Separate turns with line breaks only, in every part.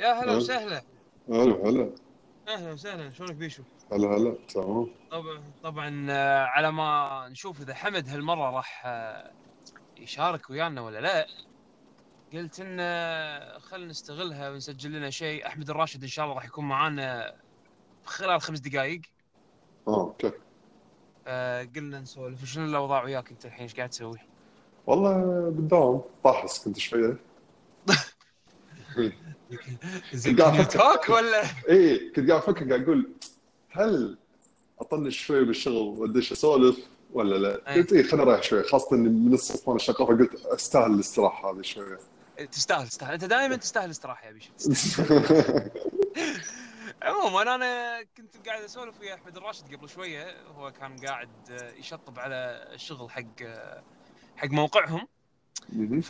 وسهلا
هلا هلا
اهلا وسهلا شلونك بيشو؟
هلا هلا تمام
طبعا طبعا آه، على ما نشوف اذا حمد هالمره راح آه، يشارك ويانا ولا لا قلت ان آه، خلنا نستغلها ونسجل لنا شيء احمد الراشد ان شاء الله راح يكون معانا خلال خمس دقائق
اه اوكي
آه، قلنا نسولف شنو الاوضاع وياك انت الحين ايش قاعد تسوي؟
والله بالدوام طاحس كنت شويه
زين
قاعد
كنت توك ولا
اي إيه، كنت قاعد افكر قاعد اقول هل اطنش شوي بالشغل وادش اسولف ولا لا؟
أي.
قلت اي خليني اريح شوي خاصه اني من الصبح وانا شغال فقلت استاهل الاستراحه هذه شويه
تستاهل تستاهل انت دائما تستاهل استراحه يا بيشو عموما انا كنت قاعد اسولف ويا احمد الراشد قبل شويه هو كان قاعد آه، يشطب على الشغل حق آه، حق موقعهم
مهم.
ف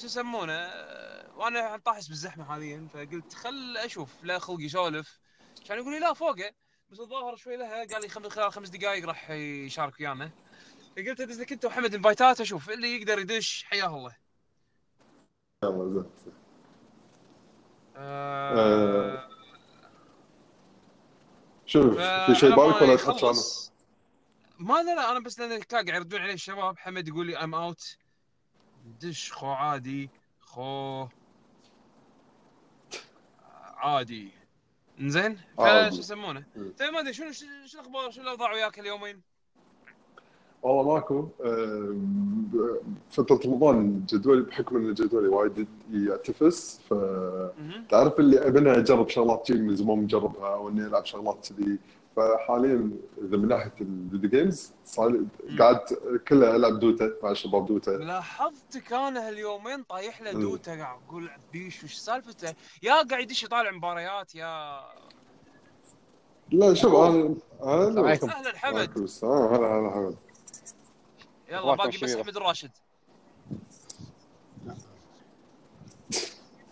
شو يسمونه آه، وانا طاحس بالزحمه حاليا فقلت خل اشوف لا خلق يسولف كان يقول لي لا فوقه بس الظاهر شوي لها قال لي خم- خلال خمس دقائق راح يشارك ويانا فقلت ادز لك انت وحمد انفايتات اشوف اللي يقدر يدش حياه الله
يلا زين
آه،
شوف في شيء
فعلى آه، ما
بالك ولا تحكي عنه؟
يخلص- ما لا لا انا بس لان كا قاعد يردون علي الشباب حمد يقول لي ام اوت دش خو عادي خو عادي زين فشو
عادي.
يسمونه؟
م.
طيب ما ادري شنو شنو شنو الاخبار شنو الاوضاع وياك اليومين؟
والله ماكو آم، فترة رمضان جدولي بحكم ان جدولي وايد يعتفس ف
مهم.
تعرف اللي ابنا اجرب شغلات شي من زمان مجربها او اني العب شغلات كذي فحاليا اذا من ناحيه الفيديو جيمز صار قاعد كلها العب دوتا مع الشباب دوتا
لاحظتك انا هاليومين طايح له
م.
دوتا قاعد اقول بيش وش سالفته؟ يا قاعد يدش يطالع مباريات يا
لا شوف انا انا
عليكم.
اهلا حمد
آه، هلا هلا هلا
يلا
أخباركم
باقي بس
شبيبة.
حمد الراشد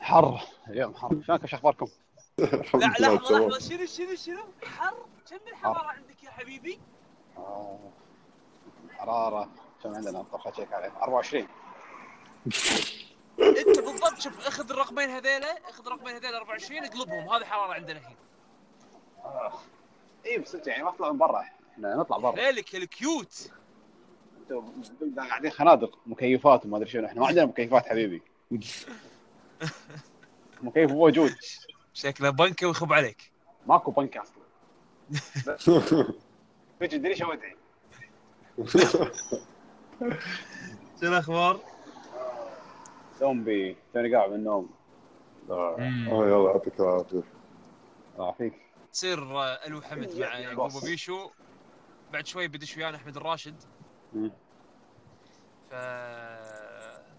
حر اليوم حر شلونكم شو اخباركم؟
الحمد
لا
لله
لحظه
تمام
لحظه شنو شنو شنو حر كم الحراره عندك يا حبيبي؟
آه، حراره كم عندنا طبخه شيك عليها 24
انت بالضبط شوف اخذ الرقمين هذيلا اخذ الرقمين هذيلا 24 اقلبهم هذه حراره عندنا الحين
اي بس انت يعني ما تطلع من برا احنا نطلع برا
ليلك الكيوت
انتوا قاعدين خنادق مكيفات وما ادري شنو احنا ما عندنا مكيفات حبيبي مكيف موجود
شكله بنكه ويخب عليك
ماكو بنك اصلا فيجي الدريشه وادعي
شو الاخبار؟
زومبي توني قاعد من النوم الله
آه، يلا يعطيك العافيه
يعافيك
تصير آه، الو حمد مع يعقوب وبيشو بعد شوي بدش ويانا احمد الراشد
مم.
ف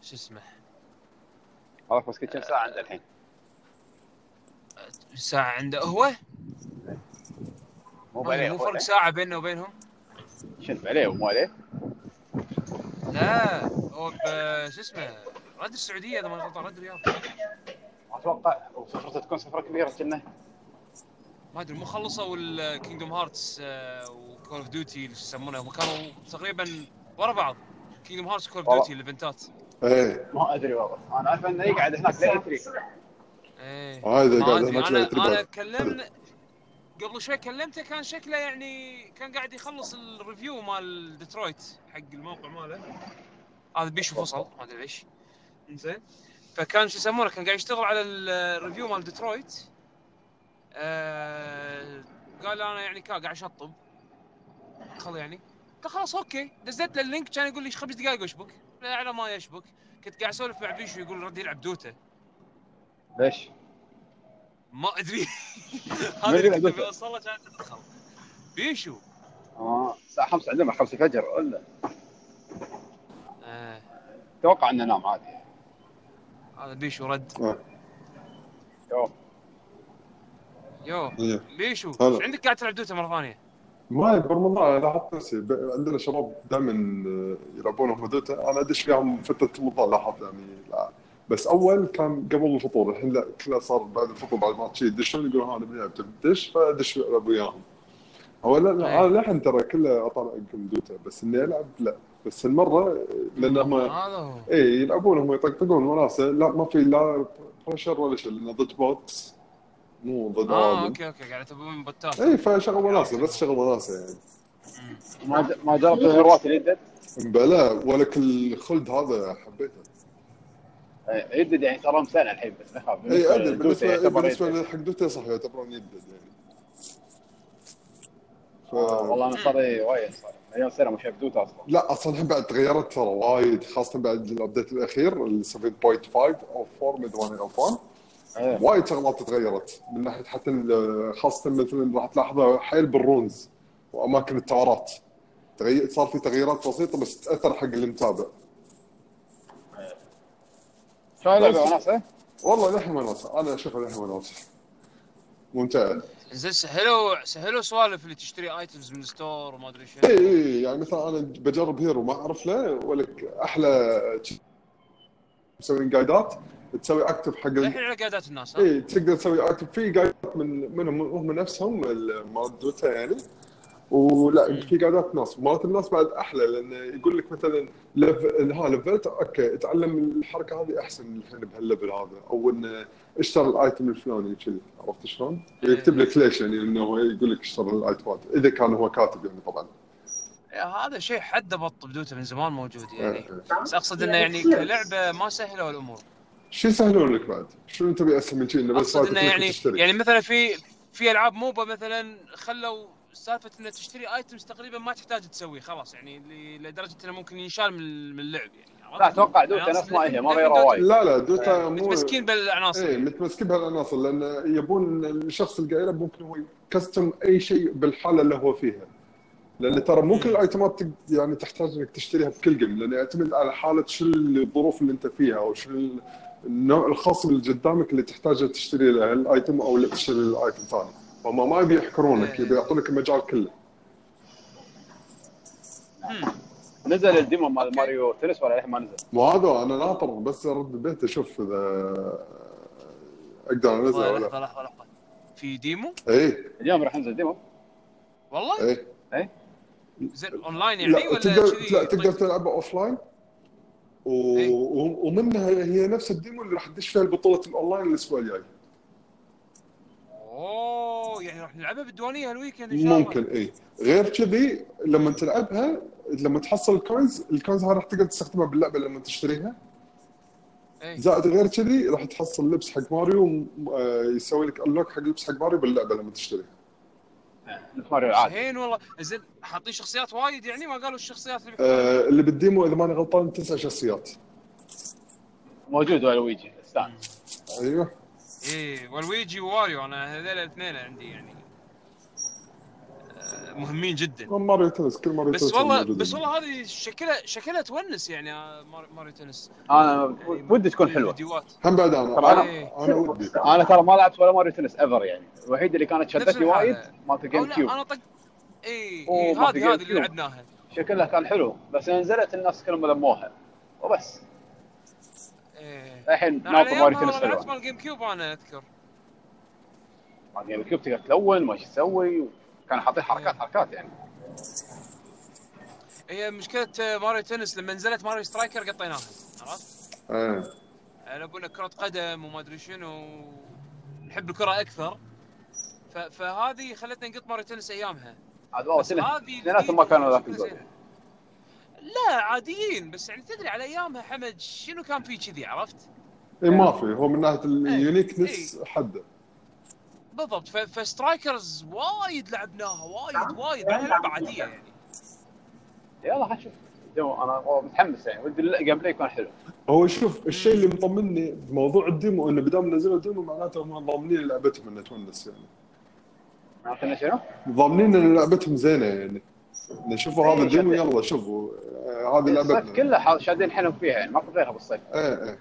شو اسمه
خلاص بس كم ساعه عندنا الحين؟
ساعه عنده هو
مو
مو فرق ساعه بيننا وبينهم
شنو عليه ومو عليه؟
لا هو ب- شو اسمه رد السعوديه اذا ما غلطان رد الرياض
اتوقع وسفرته تكون سفره كبيره كنا
ما ادري مو خلصوا الكينجدوم هارتس وكول اوف ديوتي اللي شو يسمونه هم كانوا تقريبا ورا بعض كينجدوم هارتس وكول اوف
والله.
ديوتي الايفنتات
ايه
ما ادري والله انا عارف انه يقعد هناك لا يدري
ايه
هذا
ما
قاعد
ادري
هناك
انا
لا يتربى.
انا كلمنا قبل شوي كلمته كان شكله يعني كان قاعد يخلص الريفيو مال ديترويت حق الموقع ماله هذا بيشو فصل ما ادري ليش زين فكان شو يسمونه كان قاعد يشتغل على ال- الريفيو مال ديترويت آه قال انا يعني كا- قاعد اشطب خل يعني قلت خلاص اوكي دزيت له اللينك كان يقول لي خمس دقائق واشبك لا على ما يشبك كنت قاعد اسولف مع بيشو يقول رد يلعب دوته
ليش؟
ما ادري
من
هذا اللي كنت
اللي
ابي اوصله كان تدخل بيشو
اه الساعه 5 عندنا 5 الفجر ولا
آه،
اتوقع انه نام عادي
هذا بيشو رد
شوف
يو
إيه.
بيشو
هلا.
ايش عندك قاعد تلعب دوتا مره ثانيه؟
ما برمضان انا لاحظت نفسي ب- عندنا شباب دائما يلعبون هم دوتا انا ادش فيهم فتره رمضان لاحظت يعني لا. بس اول كان قبل الفطور الحين لا كله صار بعد الفطور بعد ما تشي يدشون يقولون ها نبي نلعب تبي تدش فادش العب وياهم هو لا لا
أي.
انا للحين ترى كله اطالع يمكن دوتا بس اني العب لا بس هالمره لان هم
هذا هو
اي يلعبون هم يطقطقون وناسه لا ما في لا بريشر ولا شيء لان ضد بوت مو ضد
اه
عوادم
اوكي اوكي قاعد تبون بطال
اي فشغل وناسه بس شغل وناسه يعني
ما ج- ما جربت الهيروات اللي يدد
بلا ولك الخلد هذا حبيته
إيه، يدد يعني صار لهم سنه الحين بس اخاف
اي ادري
دوسة
بالنسبه
يعتبر
بالنسبه
يدد.
حق دوتا صح يعتبرون يدد يعني ف...
آه، والله انا صار لي وايد صار مليون سنه ما شايف دوتا اصلا
لا اصلا الحين بعد تغيرت ترى وايد خاصه بعد الابديت الاخير ال 7.5 او 4 مدري وين غلطان
إيه.
وايد شغلات تغيرت من ناحيه حتى ال- خاصه مثلا راح تلاحظها حيل بالرونز واماكن التارات تغير صار في تغييرات بسيطه بس تاثر حق المتابع
شلون لعبه وناسه؟
والله للحين وناسه انا اشوفها للحين وناسه ممتعه
زين سهلوا سهلوا سوالف اللي تشتري ايتمز من ستور وما ادري
اي
شنو
اي يعني مثلا انا بجرب هيرو ما اعرف له ولك احلى مسويين جايدات تسوي اكتب حق ال-
الحين على قيادات الناس ها؟
اي تقدر تسوي اكتب في جايدات من منهم هم نفسهم ال- مال دوتا يعني ولا في جايدات ناس مالت الناس بعد احلى لان يقول لك مثلا لف ها لفلت اوكي اتعلم الحركه هذه احسن الحين بهالليفل هذا او انه اشتري الايتم الفلاني كذي عرفت شلون؟ يكتب لك ليش يعني انه يقول لك اشتري الايتمات اذا كان هو كاتب يعني طبعا
يا إيه، هذا شيء حد بط بدوته من زمان موجود يعني
آه.
بس اقصد انه يعني كلعبه ما سهلوا الامور
شو يسهلون لك بعد؟ شنو تبي اسهل من شيء انه بس
اقصد
رايك
انه
إنك
يعني
تشتري
يعني مثلا في في العاب موبا مثلا خلوا سالفه انك تشتري ايتمز تقريبا ما تحتاج تسوي خلاص يعني ل- لدرجه انه ممكن ينشال من من اللعب يعني عرفت؟
لا اتوقع
يعني
دوتا نفس
أصلاً
ما هي ما
لعبة
غيرها
دوتا
وايد
لا لا دوتا أه، مو
يعني متمسكين بالعناصر
ايه
يعني.
متمسكين بهالعناصر لان يبون الشخص اللي قاعد يلعب ممكن هو يكستم اي شيء بالحاله اللي هو فيها لان ترى مو كل الايتمات تق- يعني تحتاج انك تشتريها بكل جيم لان يعتمد على حاله شو الظروف اللي انت فيها او شو ال- النوع الخاص اللي قدامك اللي تحتاجه تشتري له الايتم او لا تشتري الايتم ثاني فهم ما يبي يحكرونك
إيه.
يبي يعطونك المجال كله
مم.
نزل الديمو مال ماريو تنس ولا للحين ما نزل
مو هذا انا ناطر بس ارد البيت اشوف اذا اقدر انزل
لحظه
ولا إيه،
لحظه لحظه لحظة. في ديمو
اي
اليوم راح ينزل ديمو
والله
اي
زين اونلاين يعني
أه، إيه. لا
ولا
تقدر
كذي طيب.
لا تقدر تلعبها اوف لاين و...
إيه.
و- ومنها هي نفس الديمو اللي راح تدش فيها البطوله الاونلاين الاسبوع الجاي
اوه يعني راح نلعبها بالديوانيه هالويكند ان شاء الله
ممكن اي غير كذي لما تلعبها لما تحصل الكوينز الكوينز هاي راح تقدر تستخدمها باللعبه لما تشتريها
إيه.
زائد غير كذي راح تحصل لبس حق ماريو م- آه، يسوي لك انلوك حق لبس حق ماريو باللعبه لما تشتريها
نفس ماريو العادي
زين والله زين حاطين شخصيات وايد يعني ما قالوا الشخصيات اللي بيحطونها.
آه، اللي بالديمو اذا ماني غلطان تسع شخصيات
موجود ولا لويجي استان
ايوه
ايه والويجي وواريو انا هذول الاثنين عندي يعني آه، مهمين جدا
ماريو تنس كل ماريو
بس
تنس
والله
موجودة.
بس والله هذه شكلها شكلها تونس يعني آه، مار- ماريو تنس
انا ودي تكون حلوه
فيديوهات
هم بعد انا
طبعاً.
انا انا ودي
انا ترى ما لعبت ولا ماريو تنس ايفر يعني الوحيده اللي كانت
نفس
شدتني
الحالة.
وايد مالت
أو
الجيم
لا،
كيوب
انا طق اي
أوه،
إي،
ما في
هذه هذه
جيم
اللي
كيوب.
لعبناها
شكلها كان حلو بس نزلت الناس كلهم ذموها وبس
ايه
الحين
أنا على
ناطر ماريو
أيامها والله
تنس
لعبت
حلوه
مال جيم كيوب انا اذكر
مال جيم كيوب تقدر تلون ما شو تسوي كان حاطين حركات حركات يعني
هي مشكله آه، ماريو تنس لما نزلت ماريو سترايكر قطيناها عرفت؟
آه.
يلعبون كرة قدم وما ادري شنو نحب الكرة اكثر ف... فهذه خلتنا نقط ماريو تنس ايامها
عاد والله
بس
سنه
هذه
اثنيناتهم ما كانوا ذاك
شكلها
الجو.
زينة. لا عاديين بس يعني تدري على ايامها حمد شنو كان في كذي عرفت؟
اي إيه، ما في هو من ناحيه
إيه.
اليونيكنس حده
بالضبط ف... فسترايكرز وايد لعبناها وايد وايد مع إنها لعبه عاديه يعني
يلا خلينا نشوف جو، انا والله متحمس يعني ودي الجيم بلاي يكون حلو
هو شوف الشيء اللي مطمني بموضوع الديمو انه بدام نزلوا ديمو معناته هم ضامنين لعبتهم انها تونس يعني
معناته إنه شنو؟
ضامنين ان لعبتهم زينه يعني إنه شوفوا
إيه،
هذا الديمو
شفت.
يلا شوفوا آه، هذه
الصيف
لعبتنا
كله حا- شادين حيلهم فيها يعني ماكو غيرها بالصيف
ايه ايه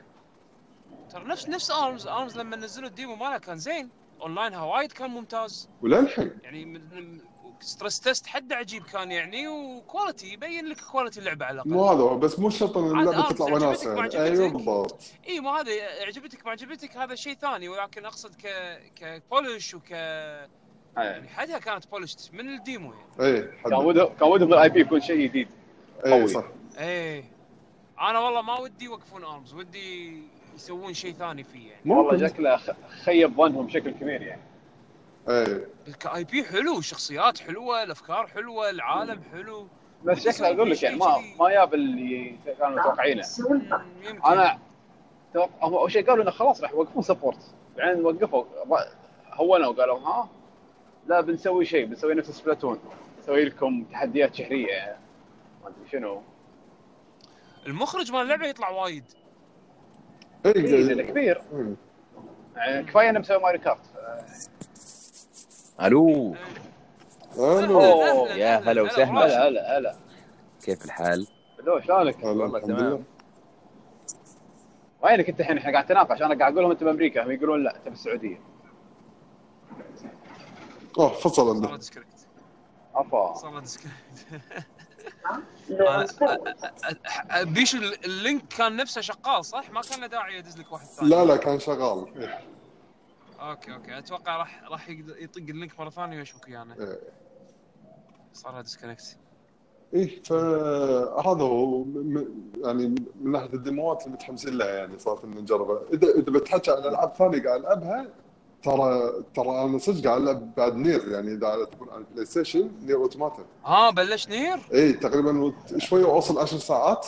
ترى نفس نفس ارمز ارمز لما نزلوا الديمو مالها كان زين اونلاينها وايد كان ممتاز
وللحين
يعني من ستريس تيست حد عجيب كان يعني وكواليتي يبين لك كواليتي اللعبه على الاقل
مو هذا هو بس مو شرط ان
عاد
اللعبه
آه،
تطلع
عجبتك،
وناسه
ما
يعني.
عجبتك.
ايوه بالضبط
اي إيه، ما هذا عجبتك ما عجبتك هذا شيء ثاني ولكن اقصد ك كبولش وك يعني
يعني
حدها كانت بولش من الديمو يعني
ايه حد
كان ودهم كان ودهم الاي بي يكون شيء جديد
ايه
قوي.
صح
ايه انا والله ما ودي يوقفون ارمز ودي يسوون شيء ثاني فيه يعني
والله
ممكن
شكله خ- خيب ظنهم بشكل كبير يعني
ايه
كاي بي حلو الشخصيات حلوه الافكار حلوه العالم حلو
بس شكله اقول لك يعني ما ما جاب اللي كانوا متوقعينه
مم، يمكن
انا توق- هم اول شيء قالوا انه خلاص راح يوقفون سبورت بعدين وقفوا ر- هونوا وقالوا ها لا بنسوي شيء بنسوي نفس سبلاتون نسوي لكم تحديات شهريه يعني ما ادري شنو
المخرج مال اللعبه يطلع وايد
إيه،
ايه
لأنه كبير
إيه.
يعني كفايه انه مسوي ماريو كارت
الو
انا
أوه،
يا هلا وسهلا.
راشد.
هلا هلا هلا
كيف الحال؟
بدو شلونك؟
هلا
والله
آه، الحمد
تمام.
لله
وينك انت الحين احنا قاعد نتناقش انا قاعد اقول لهم انت بامريكا هم يقولون لا انت بالسعوديه
اه فصل
صار
عنده
ديسكريبت
افا
صار ديسكريبت أه، بيش ال- اللينك كان نفسه شغال صح؟ ما كان له داعي يدز لك واحد ثاني
لا لا كان شغال إيه.
اوكي اوكي اتوقع راح راح يقدر- يطق اللينك مره ثانيه ويشبك ويانا
إيه.
صار لها ديسكونكت
ايه فهذا هو م- م- يعني من ناحيه الديموات اللي متحمسين لها يعني صارت انه نجربها اذا اذا بتحكي عن العاب ثانيه قاعد العبها ترى ترى انا صدق قاعد العب بعد نير يعني اذا تكون على البلاي ستيشن نير اوتوماتا
اه بلش نير؟
إيه،
اي تقريبا وت- شوي واوصل 10 ساعات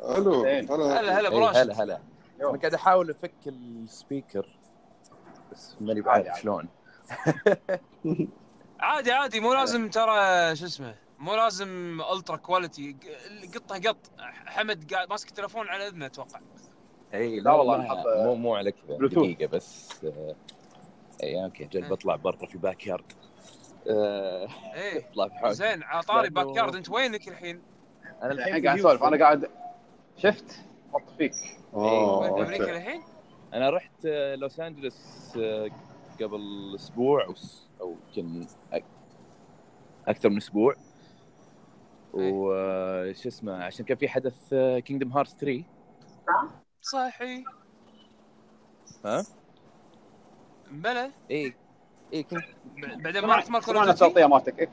الو
زين.
هلا هلا
انا
ابو
إيه،
راشد
هلا هلا انا قاعد احاول افك السبيكر بس ماني
عادي،
بعرف
عادي.
شلون
عادي عادي مو لازم ترى شو اسمه مو لازم الترا كواليتي ق- قطه قط حمد قاعد ماسك التليفون على اذنه اتوقع
اي
لا والله أنا
ما-
حاط-
مو مو على كذا
بلوتوث.
دقيقه بس آه، اي اوكي جل
إيه.
بطلع برا في باك يارد آه،
ايه
اطلع في حوش.
زين عطاري
لأنه-
باك يارد انت وينك الحين؟
انا
الحين
في
قاعد
هيوستن.
اسولف انا قاعد شفت حط فيك
اه
إيه،
وين امريكا
اوكي
الحين؟
انا رحت آه، لوس انجلوس آه، قبل اسبوع او س- او يمكن أك- اكثر من اسبوع
إيه.
وش اسمه عشان كان في حدث آه، كينجدم هارت 3
صحي
ها؟
بلى
اي اي كنت
ب- بعدين ما رحت مال كول
سمعنا التغطيه مالتك إيه.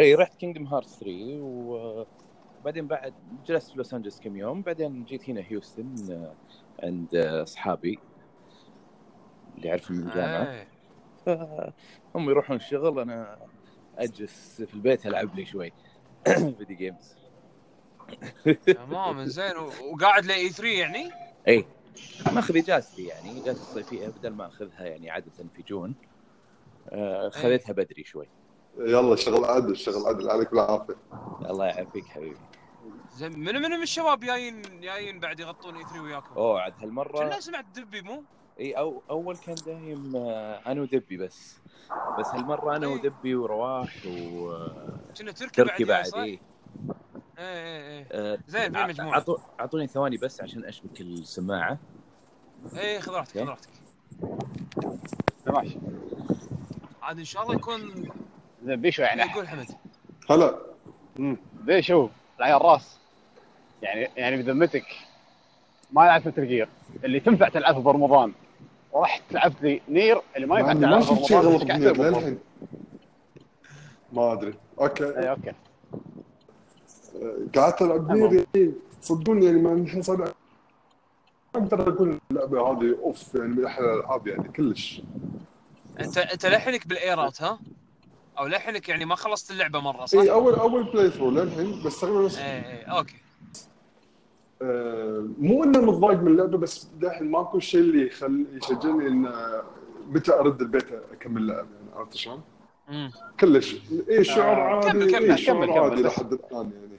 اي رحت كينجدم هارت 3 وبعدين بعد جلست في لوس انجلوس كم يوم بعدين جيت هنا هيوستن آه، عند آه، اصحابي اللي اعرفهم من الجامعه
آه.
فهم يروحون الشغل انا اجلس في البيت العب لي شوي فيديو جيمز
إيه. تمام زين و- وقاعد لاي 3 يعني؟
اي إيه، ماخذ اجازتي يعني اجازتي الصيفيه بدل ما اخذها يعني عاده في جون آه، خذيتها بدري شوي
يلا شغل عدل شغل عدل عليك بالعافيه
الله يعافيك حبيبي
زين من من من الشباب جايين جايين بعد يغطون اي 3 وياكم؟
اوه عاد هالمره
كنا سمعت دبي مو؟
اي أو اول كان دايم آه، انا ودبي بس بس هالمره انا
إي.
ودبي ورواح وتركي
كنا تركي بعد جاي،
بعد إيه.
صح؟
اي
ايه ايه ايه
آه،
زين في
ع-
مجموعه
عطو- اعطوني ثواني بس عشان اشبك السماعه
ايه خذ راحتك خذ
أوكي.
راحتك
ماشي
عاد ان شاء الله يكون
زين بيشو يعني
يقول حمد
هلا
بيشو العيال راس يعني يعني بذمتك ما لعبت مثل جير اللي تنفع تلعبها برمضان ورحت لعبت لي نير اللي ما ينفع
يعني ما
تلعبها
شفت شيء
برمضان
غلط
إيش قاعد
بنير
تسوي برمضان؟ إيه،
للحين ما ادري
اي
اوكي
اوكي
أه،
قعدت العب بنير يعني صدقوني يعني ما الحين صار ما اقدر اقول اللعبه هذه اوف يعني من احلى الالعاب يعني كلش
انت انت لحنك بالايرات ها؟ او لحنك يعني ما خلصت اللعبه مره صح؟
اي
ايه
اول اول بلاي ثرو للحين بس تقريبا نفس-
ايه اوكي
آه، مو انه متضايق من اللعبه بس للحين ماكو شيء اللي يخل يشجعني ان آه، متى ارد البيت اكمل لعب يعني عرفت شلون؟
امم
كلش اي شعور
آه،
عادي
كمل، كمل،
اي شعور
كمل، كمل،
عادي
بس.
لحد الان يعني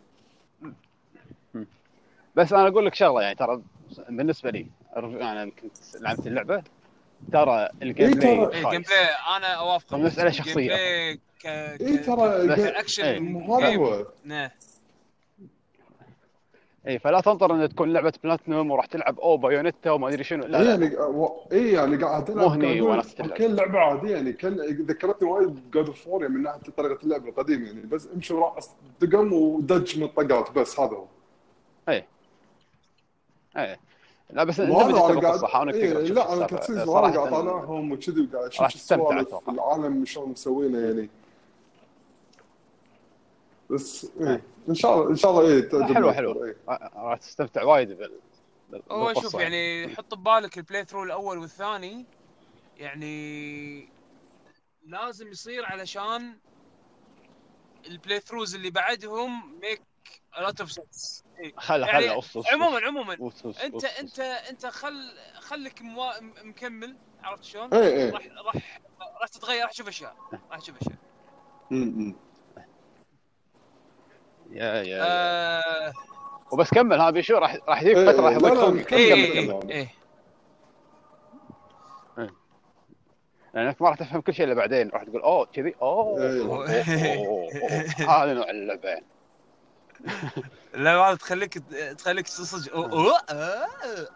بس انا اقول لك شغله يعني ترى بالنسبه لي أرجع- انا كنت لعبت اللعبه ترى الجيم
إيه، ترى-
ايه
بلاي
جيم
خايس.
بلاي انا اوافقك
مسألة شخصية.
جيم بلاي ك...
إيه، ترى جيم-
إيه،
اكشن
هذا هو
اي إيه، فلا تنطر ان تكون لعبه بلاتنوم وراح تلعب او بايونيتا وما ادري شنو لا
اي
لا
يعني و- اي يعني قاعد
مو
العب
هني
قاعد أقول
وأنا أستلعب.
اوكي اللعبه عاديه يعني كان ذكرتني وايد جود اوف وور يعني من ناحيه طريقه اللعب القديم يعني بس امشي وراء دقم ودج من الطقات بس هذا هو
إيه. لا بس انت
وهذا
بدك
انا
تبقى الصحه
قاعد
وانا
إيه
كنت
لا انا كنت سيزون وانا قاعد اطالعهم وكذي وقاعد اشوف
يعني راح
شو
تستمتع
السوالف
أتوقع.
العالم شلون مسوينه يعني بس إيه. ان شاء الله ان شاء الله ايه تعجبني
طيب. حلوة،
أكثر،
حلوة.
إيه.
راح تستمتع وايد بال بال-
هو شوف
بالقصة
يعني حط ببالك البلاي ثرو الاول والثاني يعني لازم يصير علشان البلاي ثروز اللي بعدهم ميك لوت اوف سنس
خلا
يعني
خلا اوف اوف
عموما عموما
أوف، أوف،
انت
أوف، أوف.
انت انت خل خلك موا... م- مكمل عرفت شلون؟
إيه، إيه.
راح راح راح تتغير راح تشوف اشياء راح تشوف اشياء
امم
يا يا
آه...
وبس كمل ها بيشو راح راح يجيك
إيه،
فتره راح
لا،
يضيق
لا،
صدرك
كمل،
ايه
كمل كمل
ايه
كمل.
ايه
لانك يعني ما راح تفهم كل شيء الا بعدين راح تقول اوه كذي اوه
إيه.
أوه، أوه، أوه. هذا نوع اللعبه
لا هذا تخليك تخليك تصج أو- أو- آه،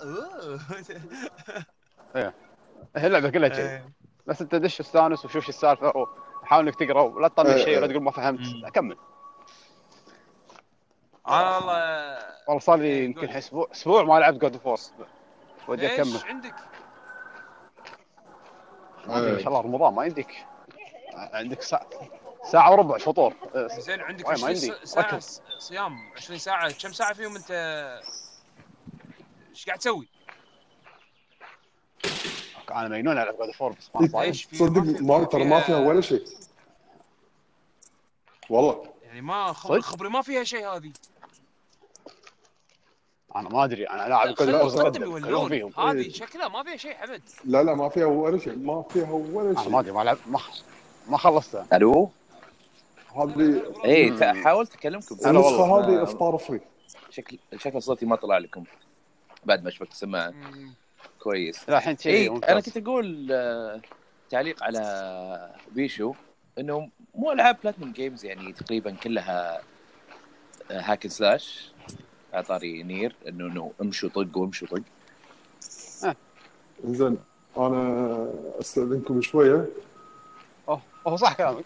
أوه.
هي اللعبه كلها كذي
آه.
بس انت دش استانس وشوف شو السالفه وحاول انك تقرا ولا تطنش
إيه،
شيء ولا
إيه.
تقول ما فهمت
مم.
لا، كمل
انا والله
والله صار لي
إيه،
يمكن
قول.
اسبوع اسبوع ما لعبت جود فورس ودي اكمل
ايش عندك؟
إيه.
ما
إيه.
أدري، ان شاء الله رمضان ما يمديك عندك ساعة ساعة وربع فطور أه،
زين عندك
والله
20
ما
س-
عندي.
ساعة
ركز.
س- صيام 20 ساعة كم ساعة فيهم انت ايش قاعد تسوي؟
انا مجنون العب جود فور بس
إيه.
ما صاير
إيش في-
صدق ما ترى ما فيها ولا شيء والله
يعني ما خبر
صدق؟
خبري ما فيها شيء هذه
انا ما ادري انا لاعب جود
لا،
خلهم
خلي-
فورس
خلي-
قدم
قدم كلهم
يولون
فيهم
هذه
إيه.
شكلها ما فيها شيء حمد
لا لا ما فيها ولا شيء ما فيها ولا
انا ما
شيء
ادري ما لعب ما ما خلصتها
الو
هذه
اي
مم.
تا- حاولت اكلمكم
هلا
النسخة
والله.
هذه
ما-
افطار فري
شكل شكل صوتي ما طلع لكم بعد ما شبكت السماعه
مم.
كويس
لا الحين شيء
اي
ممتاز.
انا إيه، كنت اقول آه، تعليق على بيشو انه مو العاب بلاتنم جيمز يعني تقريبا كلها آه، هاك سلاش على طاري نير انه انه امشوا طق وامشوا طق
زين انا استاذنكم شويه
أوه، هو صح كلامك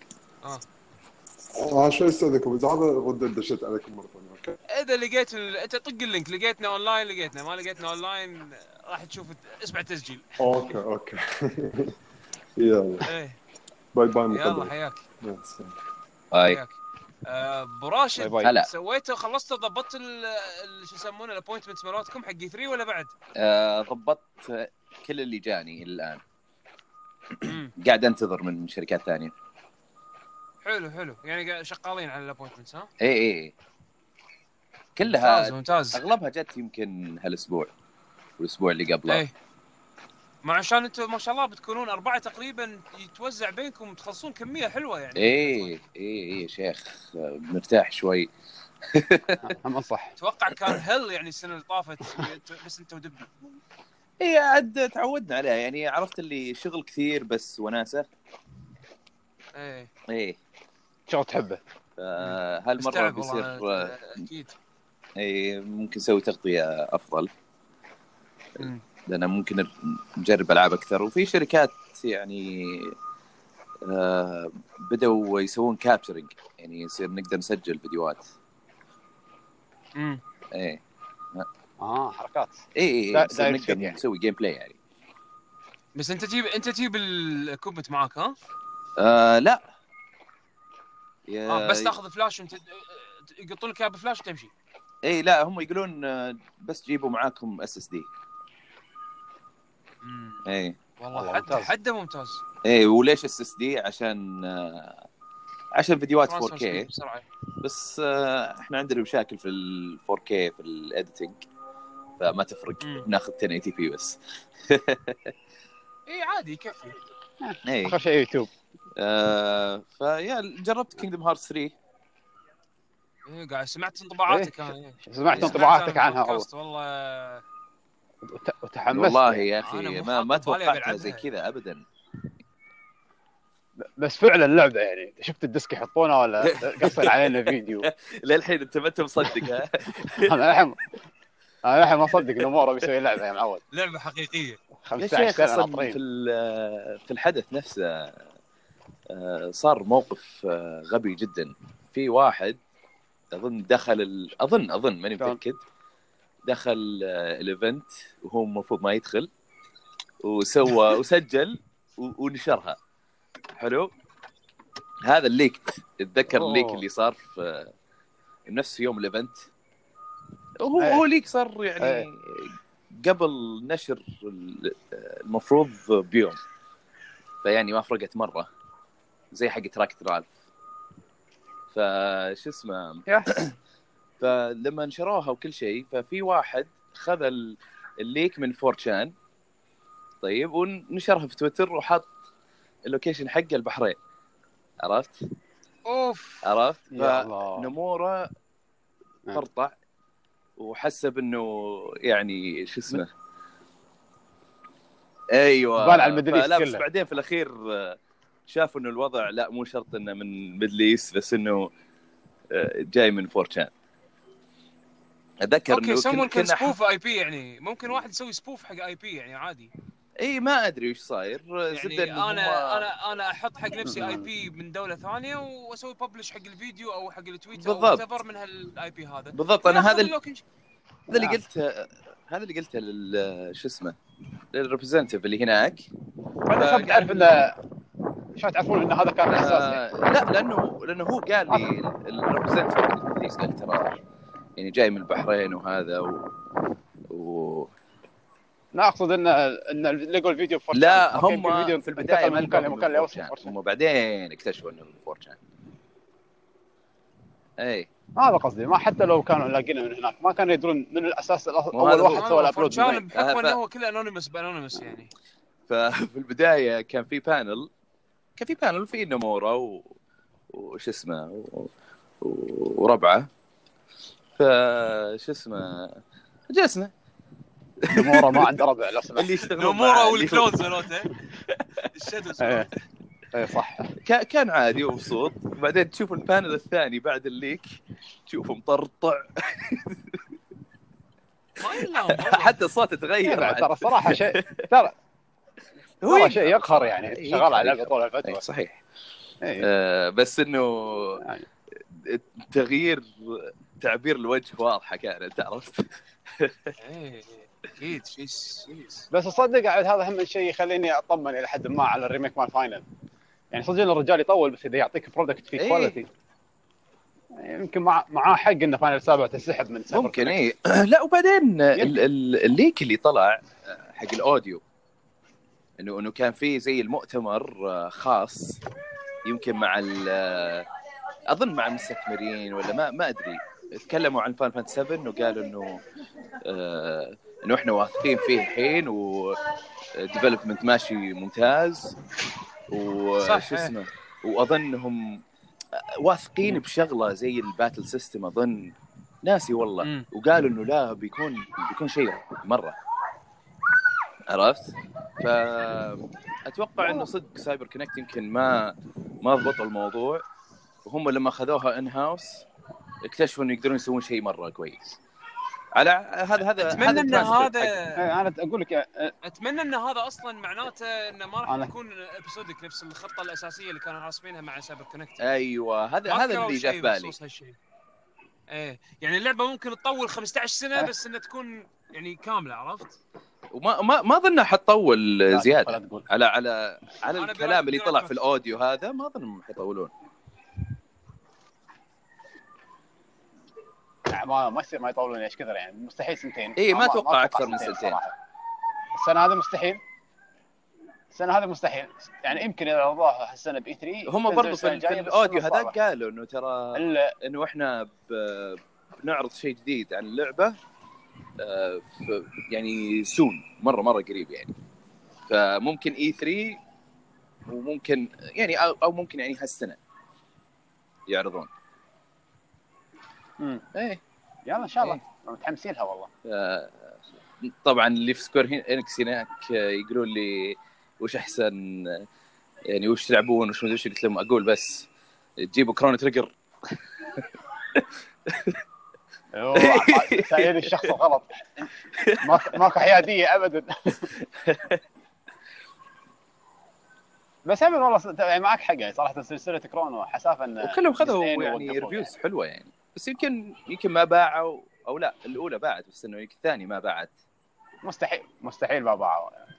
انا شوي استاذنكم اذا هذا رد دشيت عليكم مره ثانيه اوكي
اذا لقيت ال- انت طق اللينك لقيتنا اونلاين لقيتنا ما لقيتنا اونلاين راح تشوف اسمع التسجيل
اوكي اوكي يلا
ايه
باي باي
يلا
مقدم
حياك
هاي
طيب.
حياك آه، ابو راشد
باي باي.
هلا.
سويته خلصته ضبطت ال- ال- شو يسمونه الابوينتمنت مالتكم حق 3 ولا بعد؟
آه، ضبطت آه، كل اللي جاني الان قاعد انتظر من شركات ثانيه
حلو حلو يعني قا- شغالين على الابوينتمنت ها؟
اي اي
ممتاز
إيه، كلها
ممتاز
اغلبها جت يمكن هالاسبوع والاسبوع اللي قبله
ايه مع عشان انتم ما شاء الله بتكونون اربعه تقريبا يتوزع بينكم تخلصون كميه حلوه يعني
ايه ايه ايه شيخ آه، مرتاح شوي
هم انصح
اتوقع كان هل يعني السنه اللي طافت بس انت ودبي
اي إيه، عاد تعودنا عليها يعني عرفت اللي شغل كثير بس وناسه
ايه
ايه
شغل تحبه
آه، هالمره
استوعب والله،
بيصير آه،
أنا- اكيد
ايه ممكن نسوي تغطيه افضل
مم.
لان ممكن نجرب العاب اكثر وفي شركات يعني آه، بدأوا يسوون كابتشرنج يعني يصير نقدر نسجل فيديوهات
مم.
ايه
اه حركات
اي اي
دا-
إيه، يصير
دايركت
نقدر
يعني.
نسوي جيم بلاي يعني
بس انت تجيب انت تجيب الكوبت معاك ها؟
آه لا يا
آه بس تاخذ فلاش وانت يقطون لك اياه بفلاش وتمشي
اي إيه، لا هم يقولون آه، بس جيبوا معاكم اس اس دي اي
والله
والله
حد
ممتاز.
حده ممتاز
اي إيه. وليش اس اس دي عشان آه، عشان فيديوهات
ترانسفير سبيد
4K
بسرعه
بس آه، احنا عندنا مشاكل في ال 4K في الايديتنج فما تفرق
مم.
ناخذ 1080 بي بس
اي إيه، عادي يكفي
اي
اخر شيء يوتيوب
إيه، آه فيا جربت كينجدم هارت 3
إيه قاعد سمعت انطباعاتك انا إيه.
سمعت
سمعت
انطباعاتك
عن
عنها والله
البودكاست، والله
وت- وتحمست
والله
والله
يا
أنا
اخي
مو
ما ما
حاط ببالي
توقعتها
ألعبها.
زي كذا ابدا
بس فعلا لعبه يعني شفت الديسك يحطونه ولا قصر علينا فيديو
للحين انت ما انت مصدق ها
انا الحين انا الحين ما اصدق انه مورا بيسوي لعبه يا معود
لعبه حقيقيه
يا
15
شيخ
سنه
اصلا في
ناطرين
ال- في الحدث نفسه آه، صار موقف آه، غبي جدا في واحد اظن دخل ال... اظن اظن ماني
كان.
متاكد دخل آه، الايفنت وهو المفروض ما يدخل وسوى وسجل و... ونشرها حلو هذا الليك اتذكر
أوه.
الليك اللي صار في آه، نفس يوم الايفنت هو
إيه.
هو ليك صار يعني
إيه.
قبل نشر ال- المفروض بيوم فيعني ما فرقت مره زي حق تراكت رالف فش اسمه
يا.
فلما نشروها وكل شيء ففي واحد خذ ال- الليك من فورتشان طيب ونشرها في تويتر وحط اللوكيشن حقه البحرين عرفت
اوف
عرفت
يا الله
فنموره
آه. نعم.
طرطع وحسب انه يعني شو اسمه ايوه
بال على الميدل إيست
فلا، بس
كله.
بعدين في الاخير آه، شافوا انه الوضع لا مو شرط انه من ميدل ايست بس انه آه، جاي من فورتشان اتذكر
اوكي
انه
سمون
كنا-
كان
كنا
سبوف اي بي يعني ممكن واحد يسوي سبوف حق اي بي يعني عادي
اي ما ادري وش صاير آه، زبدة
يعني
إنه
انا
هم-
انا انا احط حق نفسي اي بي من دوله ثانيه واسوي ببلش حق الفيديو او حق التويتر
بالضبط.
او whatever من هالاي بي هذا
بالضبط انا هذا
اللوك إن-
هذا اللي
نعم.
قلته هذا اللي قلته لل شو اسمه للريبريزنتيف اللي هناك
بعدين شلون تعرف انه شلون تعرفون ان هذا كان احساس
يعني آه، لا لانه لانه هو قال لي الريبريزنتيف قال ترى يعني جاي من البحرين وهذا و... و...
لا اقصد ان ان لقوا الفيديو في
لا
أوكي،
هم في البدايه
انتقل
ما
من مكان لمكان
كانوا
ليوصل فورتشان.
هم بعدين اكتشفوا انه من فورتشان اي
هذا قصدي ما حتى لو كانوا لاقينه من هناك ما كانوا يدرون من الاساس الأص-
مو هذا
اول واحد
هو.
سوى الابلود
فورتشان
من وين.
آه، ف-
بحكم انه هو كله انونيمس بانونيمس يعني
ففي البدايه كان في بانل كان في بانل في نمورا و... وش اسمه و... و- وربعه فش اسمه جلسنا
نمورا إيه، ما عنده ربع لو سمحت
اللي يشتغلون
نمورا
معاه، اللي-
والكلونز هذول الشادوز
ايه ايه صح
كا- كان عادي ومبسوط بعدين تشوف البانل الثاني بعد الليك تشوفه مطرطع
ما يلام والله.
حتى صوته تغير
يعني
إيه، بعد.
ترى صراحه شيء ترى
يقهر.
ترى شيء يقهر يعني
إيه،
شغال على
يقهر،
لعبه طول
إيه،
الفتره
صحيح
إيه.
آه، بس انه
يعني.
تغيير تعبير الوجه واضحه كانت عرفت
إيه، اكيد شيء سيريس
بس اصدق عاد هذا هم شيء يخليني اطمن الى حد ما على الريميك مال فاينل يعني صدق إن الرجال يطول بس اذا يعطيك برودكت فيه
إيه.
كواليتي يمكن مع معاه حق انه فاينل سابع تسحب من سايبر
ممكن إيه.
كونكت.
اي لا وبعدين ال- ال- الليك اللي طلع آه، حق الاوديو انه انه كان في زي المؤتمر آه، خاص يمكن مع ال- آه، اظن مع المستثمرين ولا ما ما ادري تكلموا عن فان فانت 7 وقالوا انه آه، انه احنا واثقين فيه الحين وديفلوبمنت ماشي ممتاز
صح.
وش اسمه واظنهم واثقين بشغله زي الباتل سيستم اظن ناسي والله
مم.
وقالوا انه لا بيكون بيكون شيء مره عرفت؟ فاتوقع انه صدق سايبر كونكت يمكن ما ما ضبطوا الموضوع وهم لما خذوها ان هاوس اكتشفوا انه يقدرون يسوون شيء مره كويس على هذا هذا
اتمنى ان
الترانسكريبت حق-
هذا
إيه، انا اقول لك آه،
اتمنى ان هذا اصلا معناته انه ما
أنا-
راح يكون ابيسودك نفس الخطه الاساسيه اللي كانوا راسمينها مع سايبر كونكت
ايوه هذا
ما
هذا
كانوا
اللي جاء في
شيء
بالي
بخصوص هالشيء ايه يعني اللعبه ممكن تطول 15 سنه
إيه.
أه.
بس انها تكون يعني كامله عرفت؟
وما ما ما اظنها حتطول
لا،
زياده
ولا تقول
على على على
أنا
الكلام
برأيي-
اللي طلع في الاوديو هذا ما اظنهم حيطولون
لا، ما ما يصير ما يطولون ايش كثر يعني مستحيل سنتين
إيه، ما أتوقع أكثر من سنتين.
صراحة. السنه هذا مستحيل السنه هذا مستحيل يعني يمكن اذا وضعوها السنه باي 3
هم برضو في, في الاوديو هذاك قالوا انه ترى
الا
انه احنا ب- بنعرض شيء جديد عن اللعبه آه، ف- يعني سون مره مره قريب يعني فممكن اي 3 وممكن يعني او أو ممكن يعني هالسنه يعرضون
مم.
ايه
يلا ان شاء الله
إيه.
متحمسين لها والله
آه، طبعا اللي في سكوير هين- انكس هناك آه، يقولون لي وش احسن آه، يعني وش تلعبون وش مدري وش قلت لهم اقول بس تجيبوا كرون تريجر
أوه، سائل الشخص الغلط ما- ماكو حياديه ابدا بس عمل والله صدق- يعني معك حق يعني صراحه سلسله كرونو حسافه انه
وكلهم خذوا
جزئين
يعني
ووقفوا
ريفيوز حلوه يعني بس يمكن يمكن ما باعوا او لا الاولى باعت بس انه يمكن الثانيه ما باعت
يعني. مستحيل مستحيل ما باعوا يعني.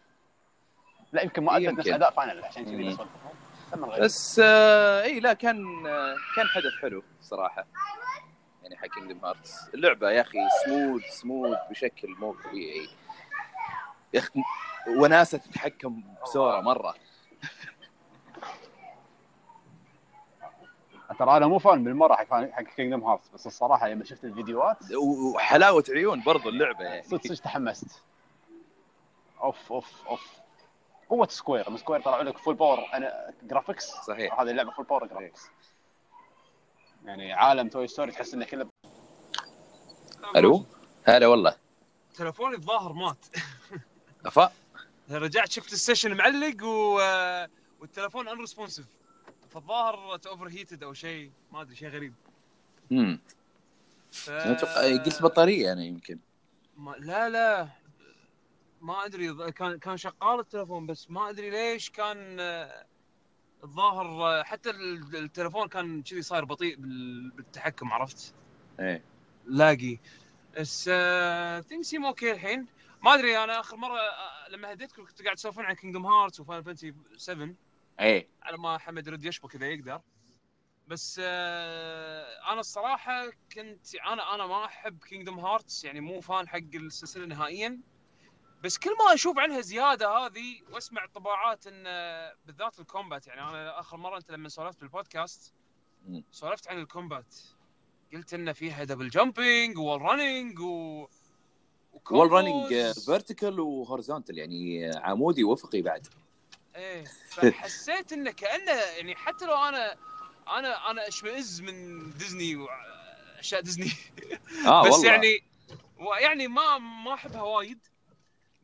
لا يمكن ما اثبت
يمكن.
نفس اداء فاينل عشان كذي
مم.
بس تم الغيب.
بس آه اي لا كان آه كان حدث حلو صراحه يعني حق كينجدم هارتس اللعبه يا اخي سموث سموث بشكل مو طبيعي يا اخي وناسه تتحكم بسوره مره
ترى انا مو فان بالمره حق حق كينجدم هارتس بس الصراحه لما شفت الفيديوهات
وحلاوه عيون برضو اللعبه يعني
صدق صدق تحمست اوف اوف اوف قوه سكوير من سكوير طلعوا لك فول باور انا جرافيكس
صحيح
هذه اللعبه فول باور جرافيكس يعني عالم توي ستوري تحس انه كله
الو هلا والله
تلفوني الظاهر مات
افا
رجعت شفت السيشن معلق و... آه، والتلفون ان ريسبونسيف فالظاهر اوفر هيتد او شيء ما ادري شيء غريب
امم
ف...
اتوقع إيه، قلت بطاريه انا يمكن
ما... لا لا ما ادري ض- كان كان شغال التلفون بس ما ادري ليش كان آه، الظاهر آه، حتى ال- التلفون كان كذي صاير بطيء بال- بالتحكم عرفت؟
ايه
لاقي بس آه، تنسيم اوكي الحين ما ادري انا اخر مره آه، لما هديتكم كنتوا قاعد تسولفون عن كينجدم هارتس وفاينل فانتسي 7
ايه
على ما حمد رد يشبك اذا يقدر بس آه، انا الصراحه كنت انا انا ما احب كينجدم هارتس يعني مو فان حق السلسله نهائيا بس كل ما اشوف عنها زياده هذه واسمع طباعات ان آه، بالذات الكومبات يعني انا اخر مره انت لما سولفت بالبودكاست
مم.
سولفت عن الكومبات قلت ان فيها دبل جامبينج وول رننج و
وول رننج
وcombos.
فيرتيكال وهورزونتال uh, يعني عمودي وافقي بعد
ايه فحسيت انه كانه يعني حتى لو انا انا انا اشمئز من ديزني واشياء ديزني
اه
بس
والله
يعني يعني ما ما احبها وايد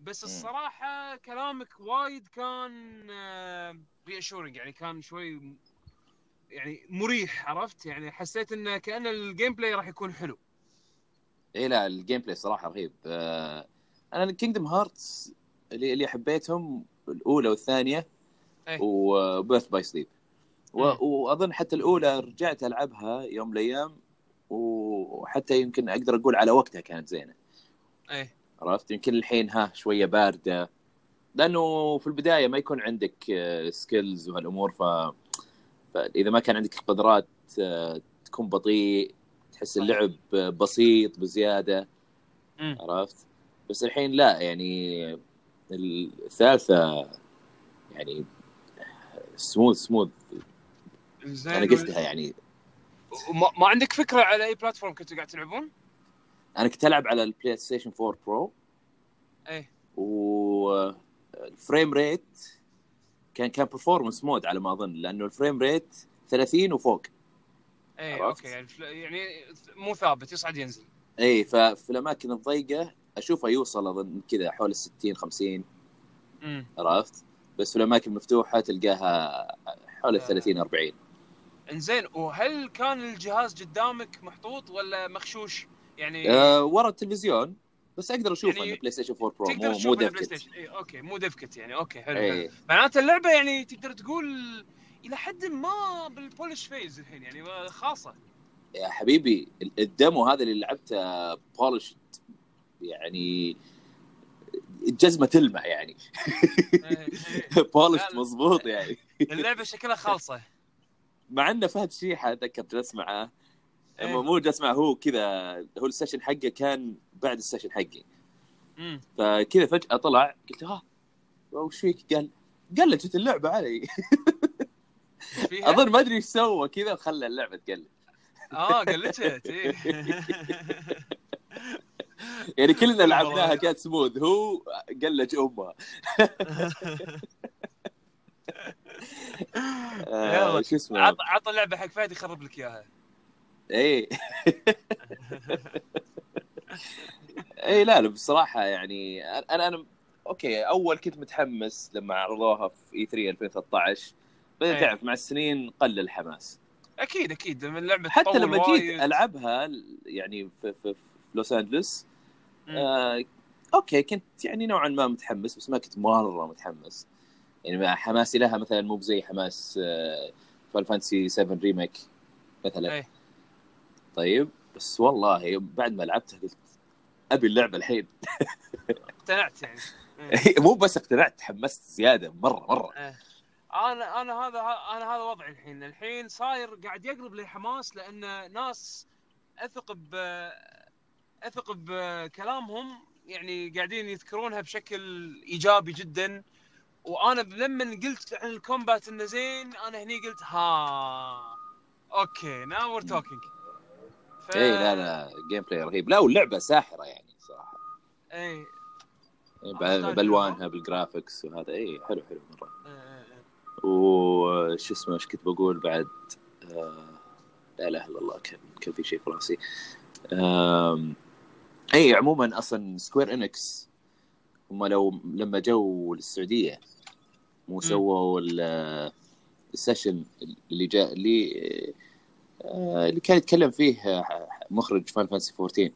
بس
مم.
الصراحه كلامك وايد كان ري اشورنج يعني كان شوي يعني مريح عرفت يعني حسيت انه كان الجيم بلاي راح يكون حلو
اي لا الجيم بلاي صراحه رهيب آه انا كينجدم هارتس اللي اللي حبيتهم الاولى والثانيه
إيه.
وبيرث باي سليب
مم.
واظن حتى الاولى رجعت العبها يوم من الايام وحتى يمكن اقدر اقول على وقتها كانت زينه
ايه
عرفت يمكن الحين ها شويه بارده لانه في البدايه ما يكون عندك سكيلز وهالامور ف... فاذا ما كان عندك القدرات آه، تكون بطيء تحس
صحيح.
اللعب بسيط بزياده
مم.
عرفت بس الحين لا يعني الثالثه يعني سموث سموث
زين
انا قلتها يعني
ما, ما عندك فكره على اي بلاتفورم كنتوا قاعد تلعبون؟
انا كنت العب على البلاي ستيشن 4 برو
ايه
والفريم ريت كان كان برفورمنس مود على ما اظن لانه الفريم ريت 30 وفوق
ايه
عرفت.
اوكي يعني فل- يعني مو ثابت يصعد ينزل
اي ففي الاماكن الضيقه اشوفه يوصل اظن كذا حول ال 60 50
امم
عرفت بس في الاماكن المفتوحه تلقاها حول
آه.
ال 30 40
انزين وهل كان الجهاز قدامك محطوط ولا مخشوش؟ يعني
أه ورا التلفزيون بس اقدر اشوف
يعني
يعني بلاي ستيشن 4 برو
تقدر
مو مو إيه.
تشوف البلاي
ديفكت
ستيشن اي اوكي إيه، مو ديفكت يعني اوكي حلو حلو.
اي
معناته اللعبه يعني تقدر تقول الى حد ما بالبولش فيز الحين يعني خاصه
يا حبيبي ال- الدمو هذا اللي لعبته بولش يعني الجزمه تلمع يعني
إيه، إيه.
بولش
لا، لا.
مضبوط يعني
اللعبه شكلها خالصه
مع انه فهد شيحه اتذكر جلست معاه
إيه.
مو جلست معه هو كذا هو السيشن حقه كان بعد السيشن حقي
امم
فكذا فجاه طلع قلت ها وش فيك قال قلجت اللعبه علي
إيش فيها؟
اظن ما ادري ايش سوى كذا وخلى اللعبه تقلج
اه قلتت إيه.
يعني كلنا لعبناها كانت سموث هو قلج امها آه
يلا.
آه، شو اسمه
عط عط اللعبه حق فهد يخرب لك اياها
اي اي إيه، لا لا بصراحه يعني انا انا اوكي اول كنت متحمس لما عرضوها في E اي 3 2013 بعدين
إيه.
تعرف مع السنين قل الحماس
اكيد اكيد لما اللعبه
حتى
تطول
لما جيت
وايد.
العبها يعني في, في, في لوس انجلس
مم.
آه اوكي كنت يعني نوعا ما متحمس بس ما كنت مره متحمس يعني ما- حماسي لها مثلا مو زي حماس آه، فان فانسي 7 ريميك مثلا
إيه.
طيب بس والله بعد ما لعبتها قلت ابي اللعبه الحين
اقتنعت يعني
مو بس اقتنعت تحمست زياده مره مره
إيه. انا انا هذا انا هذا وضعي الحين الحين صاير قاعد يقرب لحماس لان ناس اثق ب اثق بكلامهم يعني قاعدين يذكرونها بشكل ايجابي جدا وانا لما قلت عن الكومبات انه زين انا هني قلت ها اوكي ناو وير توكينج ف...
اي إيه، لا لا جيم بلاي رهيب لا واللعبه ساحره يعني صراحه
اي
إيه،
أحسن.
ب- بالوانها
أه.
بالجرافكس وهذا اي حلو حلو مره
إيه، إيه.
وش اسمه ايش كنت بقول بعد آه، لا اله الا الله كان كان في شيء في راسي آم، اي عموما اصلا سكوير انكس هم لو لما جو للسعوديه مو سووا ال- السيشن اللي جاء اللي آه، اللي كان يتكلم فيه مخرج فان فانسي 14
اي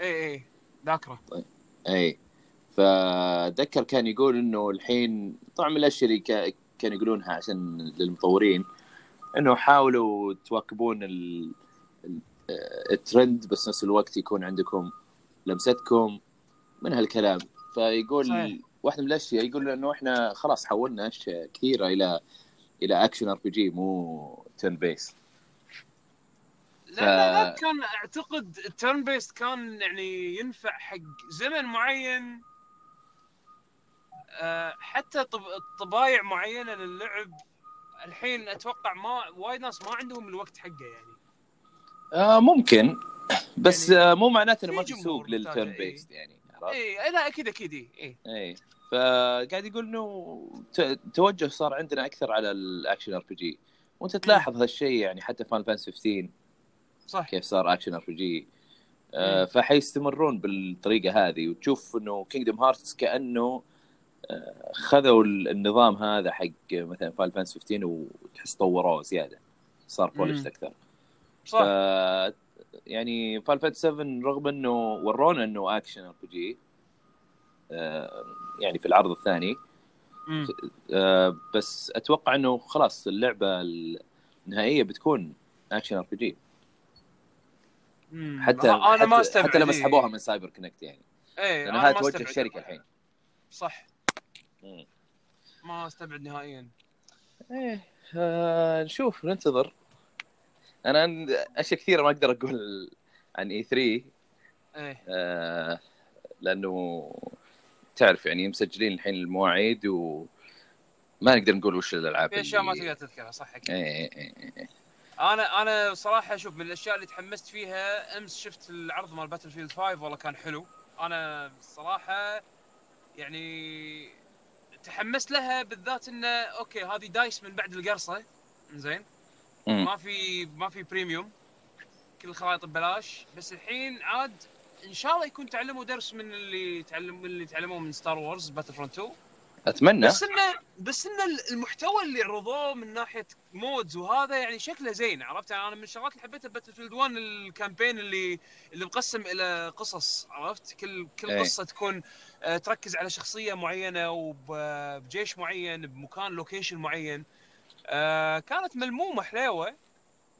اي ذاكره
اي فاتذكر إيه. كان يقول انه الحين طبعا من الاشياء اللي كا- كانوا يقولونها عشان للمطورين انه حاولوا تواكبون ال... ال- آه، الترند بس نفس الوقت يكون عندكم لمستكم من هالكلام فيقول
صحيح.
واحده من الاشياء يقول انه احنا خلاص حولنا اشياء كثيره الى الى اكشن ار بي جي مو تن بيس
لا لا لا كان اعتقد التيرن بيست كان يعني ينفع حق زمن معين آه، حتى طب... طبايع معينه للعب الحين اتوقع ما وايد ناس ما عندهم الوقت حقه يعني
آه ممكن بس
يعني
آه مو معناته انه ما
في
في
جمهور إيه.
سوق للترن
محتاجه، إي.
بيست يعني عرفت؟
اي إيه، لا اكيد اكيد اي إيه.
ايه فقاعد يقول انه ت- توجه صار عندنا اكثر على الاكشن ار بي جي وانت تلاحظ هالشيء يعني حتى فان فانس 15
صح
كيف صار اكشن ار بي جي آه،
إيه.
فحيستمرون بالطريقه هذه وتشوف انه كينجدم هارتس كانه آه، خذوا ال- النظام هذا حق مثلا فان فانس 15 وتحس طوروه زياده صار بولش
مم.
اكثر ف
صح
يعني فان فانت 7 رغم انه ورونا انه اكشن ار بي جي يعني في العرض الثاني
مم.
آه، بس اتوقع انه خلاص اللعبه النهائيه بتكون اكشن ار بي جي
مم.
حتى
انا
حتى,
ما استبعد
حتى لما
إيه.
سحبوها من سايبر كونكت يعني
اي
لان
انا
هذا
ما
توجه
استبعد.
الشركه الحين
صح
مم.
ما استبعد نهائيا
ايه آه، نشوف ننتظر انا عند- اشياء كثيره ما اقدر اقول عن اي 3
ايه
آه، لانه تعرف يعني مسجلين الحين المواعيد وما نقدر نقول وش الالعاب
في اشياء ما
اللي-
تقدر تذكرها صح اكيد
إيه، إيه، إيه، إيه.
انا انا صراحه شوف من الاشياء اللي تحمست فيها امس شفت العرض مال باتل فيلد 5 والله كان حلو انا صراحه يعني تحمست لها بالذات انه اوكي هذه دايس من بعد القرصه زين
مم.
ما في ما في بريميوم كل الخرائط ببلاش بس الحين عاد ان شاء الله يكون تعلموا درس من اللي تعلم من اللي تعلموه من ستار وورز باتل فرونت 2
اتمنى
بس انه بس انه المحتوى اللي عرضوه من ناحيه مودز وهذا يعني شكله زين عرفت يعني انا من الشغلات اللي حبيتها باتل فيلد 1 الكامبين اللي اللي مقسم الى قصص عرفت كل كل
إيه.
قصه تكون آه، تركز على شخصيه معينه وبجيش معين بمكان لوكيشن معين آه، كانت ملمومه حليوه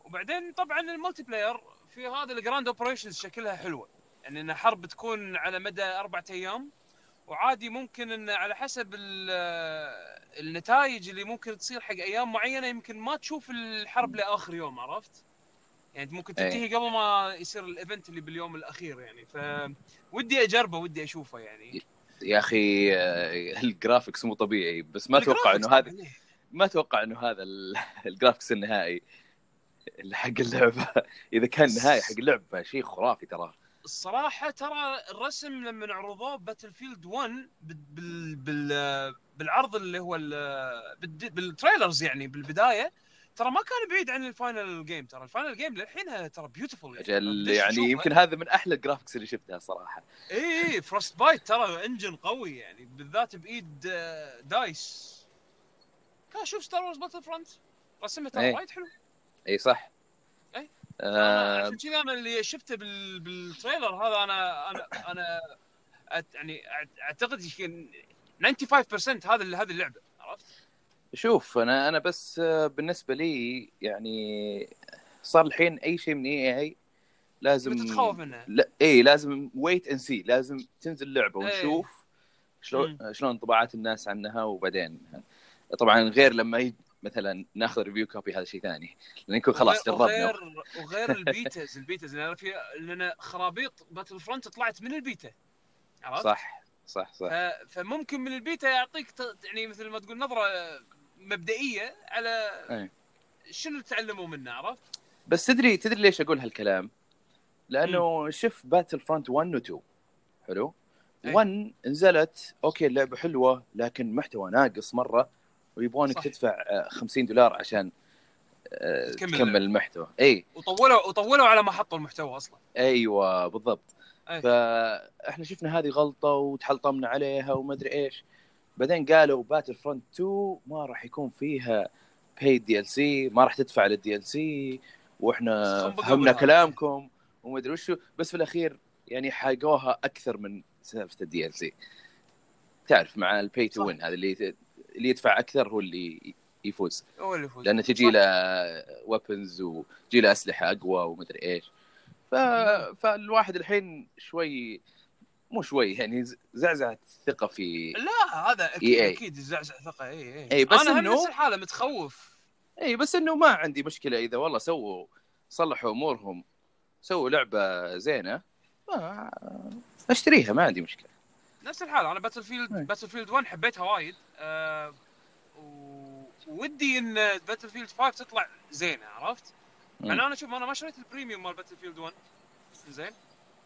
وبعدين طبعا الملتي بلاير في هذا الجراند اوبريشنز شكلها حلوه يعني انها حرب تكون على مدى أربعة ايام وعادي ممكن ان على حسب ال- آه، النتائج اللي ممكن تصير حق ايام معينه يمكن ما تشوف الحرب لاخر يوم عرفت؟ يعني ممكن
إيه.
تنتهي قبل ما يصير الايفنت اللي باليوم الاخير يعني ف ودي اجربه ودي اشوفه يعني
يا اخي آه، الجرافيكس مو طبيعي بس ما اتوقع انه هذا
الجرافيكس يعني
ما اتوقع انه هذا ال- الجرافيكس النهائي اللي حق اللعبه اذا كان نهائي حق اللعبه شيء خرافي ترى
الصراحة ترى الرسم لما عرضوه باتل فيلد 1 بال بال بال بالعرض اللي هو ال- بالد- بالتريلرز يعني بالبداية ترى ما كان بعيد عن الفاينل جيم ترى الفاينل جيم للحين ترى بيوتيفول
اجل يعني يمكن هذا من احلى الجرافيكس اللي شفتها صراحه
اي اي فروست بايت ترى انجن قوي يعني بالذات بايد آه، دايس كان شوف ستار وورز باتل فرونت رسمه ترى
إيه.
وايد حلو
اي صح
إيه.
آه،
عشان كذا انا اللي شفته بال... بالتريلر هذا انا انا انا أت... يعني أعت- اعتقد يمكن 95% هذا اللي هذه اللعبه عرفت؟
شوف انا انا بس آه، بالنسبه لي يعني صار الحين اي شيء من اي اي لازم
بتتخوف منها
لا اي لازم ويت اند سي لازم تنزل اللعبه
إيه.
ونشوف شلون شلون انطباعات الناس عنها وبعدين طبعا غير لما ي... مثلا ناخذ ريفيو كوبي هذا شيء ثاني لان يكون خلاص
وغير-
جربنا
وغير وغير البيتز البيتز لان في لان خرابيط باتل فرونت طلعت من البيتا عرفت؟
صح صح صح
ف- فممكن من البيتا يعطيك ت- يعني مثل ما تقول نظره مبدئيه على
إيه.
شنو اللي تعلموا منه عرفت؟
بس تدري تدري ليش اقول هالكلام؟ لانه شوف باتل فرونت 1 و 2 حلو؟
إيه.
1 نزلت اوكي اللعبه حلوه لكن محتوى ناقص مره ويبغونك
صح.
تدفع آه، 50 دولار عشان آه،
تكمل
تكمل
اللعبة.
المحتوى إيه. اي
وطولوا وطولوا على ما حطوا المحتوى اصلا
ايوه بالضبط
أي.
فاحنا شفنا هذه غلطه وتحلطمنا عليها وما ادري ايش بعدين قالوا باتل فرونت 2 ما راح يكون فيها باي دي ال سي ما راح تدفع للدي ال سي واحنا
صنبقوا
فهمنا
بالهبل.
كلامكم وما ادري وشو بس في الاخير يعني حاقوها اكثر من سالفه الدي ال سي تعرف مع البي تو
صح.
وين هذا اللي اللي يدفع اكثر هو اللي يفوز
هو اللي يفوز
لانه تجي له ويبنز وتجي له اسلحه اقوى ومدري ايش ف... فالواحد الحين شوي مو شوي يعني ز- زعزعت الثقه في
لا هذا اكيد
EA.
اكيد يزعزع ثقه اي اي
إي، بس
انا هم
إنه-
نفس الحاله متخوف
اي بس انه ما عندي مشكله اذا والله سووا صلحوا امورهم سووا لعبه زينه ما اشتريها ما عندي مشكله
نفس الحاله انا باتل فيلد
أي.
باتل فيلد 1 حبيتها وايد أه و- ودي ان باتل فيلد 5 تطلع زينه عرفت؟ مع
مم.
إنه انا شوف انا ما شريت البريميوم مال باتل فيلد 1 زين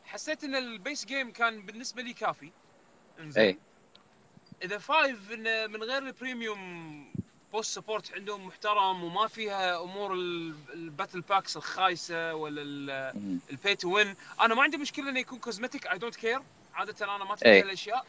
حسيت ان البيس جيم كان بالنسبه لي كافي
أي.
انزين اذا 5 إنه من غير البريميوم بوست سبورت عندهم محترم وما فيها امور ال- الباتل باكس الخايسه ولا ال-
مم.
البي تو وين انا ما عندي مشكله انه يكون كوزمتيك اي دونت كير عاده انا ما تفرق
إيه.
الاشياء
ه-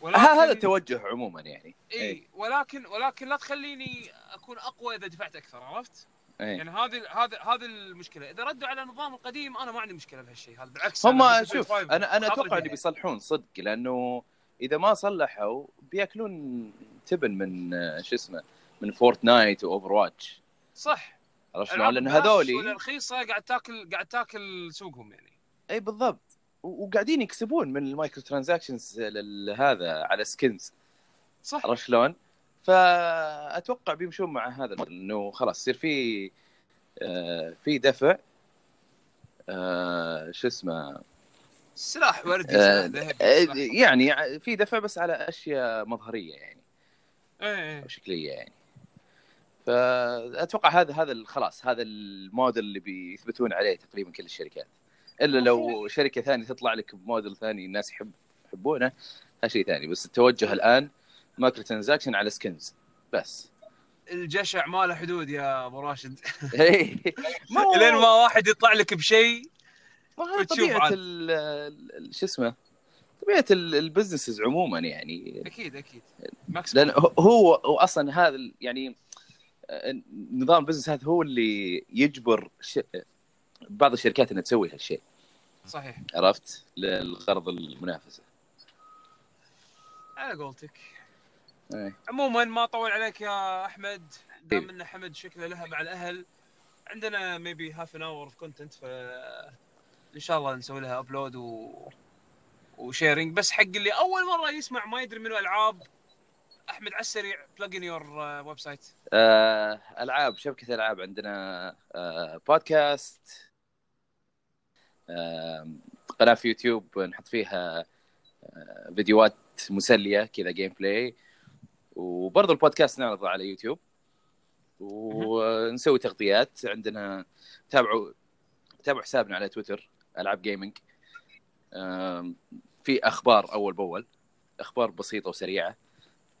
ولكن
هذا توجه عموما يعني
اي
إيه.
ولكن ولكن لا تخليني اكون اقوى اذا دفعت اكثر عرفت؟
إيه.
يعني هذه هذا هذه المشكله اذا ردوا على النظام القديم انا ما عندي مشكله بهالشيء هذا بالعكس
هم
أنا Battlefield
شوف
5
انا انا
خاطري
اتوقع
فيها.
انه بيصلحون صدق لانه اذا ما صلحوا بياكلون تبن من آه، شو اسمه من فورتنايت واوفر واتش
صح
عرفت شلون؟
ألعاب
لان
البلاش ولا
هذولي
رخيصه قاعد تاكل قاعد تاكل سوقهم يعني
اي بالضبط و- وقاعدين يكسبون من المايكرو ترانزاكشنز هذا على سكنز
صح
عرفت شلون؟ فاتوقع بيمشون مع هذا الموديل، انه خلاص يصير في آه، في دفع آه، شو اسمه
سلاح وردي
آه،
سلاح ذهبي
آه،
سلاح-
يعني ع- في دفع بس على اشياء مظهريه يعني
إيه، إيه.
او شكليه يعني فاتوقع هذا هذا ال- خلاص هذا الموديل اللي بيثبتون عليه تقريبا كل الشركات الا لو
المفروض.
شركه ثانيه تطلع لك بموديل ثاني الناس يحب يحبونه هذا شيء ثاني بس التوجه الان مايكرو ترانزاكشن على سكنز بس
الجشع ما له حدود يا ابو راشد
إيه. ما هو-
لين ما واحد يطلع لك بشيء
ما هذا
بتشوف
طبيعه
عاد.
ال- ال- شو اسمه طبيعه ال- البزنسز عموما يعني
اكيد اكيد ماكس
لان هو- هو هو اصلا هذا ال- يعني آه، نظام بزنس هذا هو اللي يجبر ش... بعض الشركات انها تسوي هالشيء
صحيح
عرفت للغرض المنافسه
على قولتك
إيه.
عموما ما اطول عليك يا احمد دام
حبيبي.
ان حمد شكله لها مع الاهل عندنا ميبي هاف ان اور اوف كونتنت ف ان شاء الله نسوي لها ابلود و وشيرنج بس حق اللي اول مره يسمع ما يدري منو العاب احمد على السريع بلج ان يور ويب سايت
آه، العاب شبكه العاب عندنا آه، بودكاست آه، قناه في يوتيوب نحط فيها آه، فيديوهات مسليه كذا جيم بلاي وبرضه البودكاست نعرضه على يوتيوب ونسوي تغطيات عندنا تابعوا تابعوا حسابنا على تويتر العاب جيمنج آم، في اخبار اول باول اخبار بسيطه وسريعه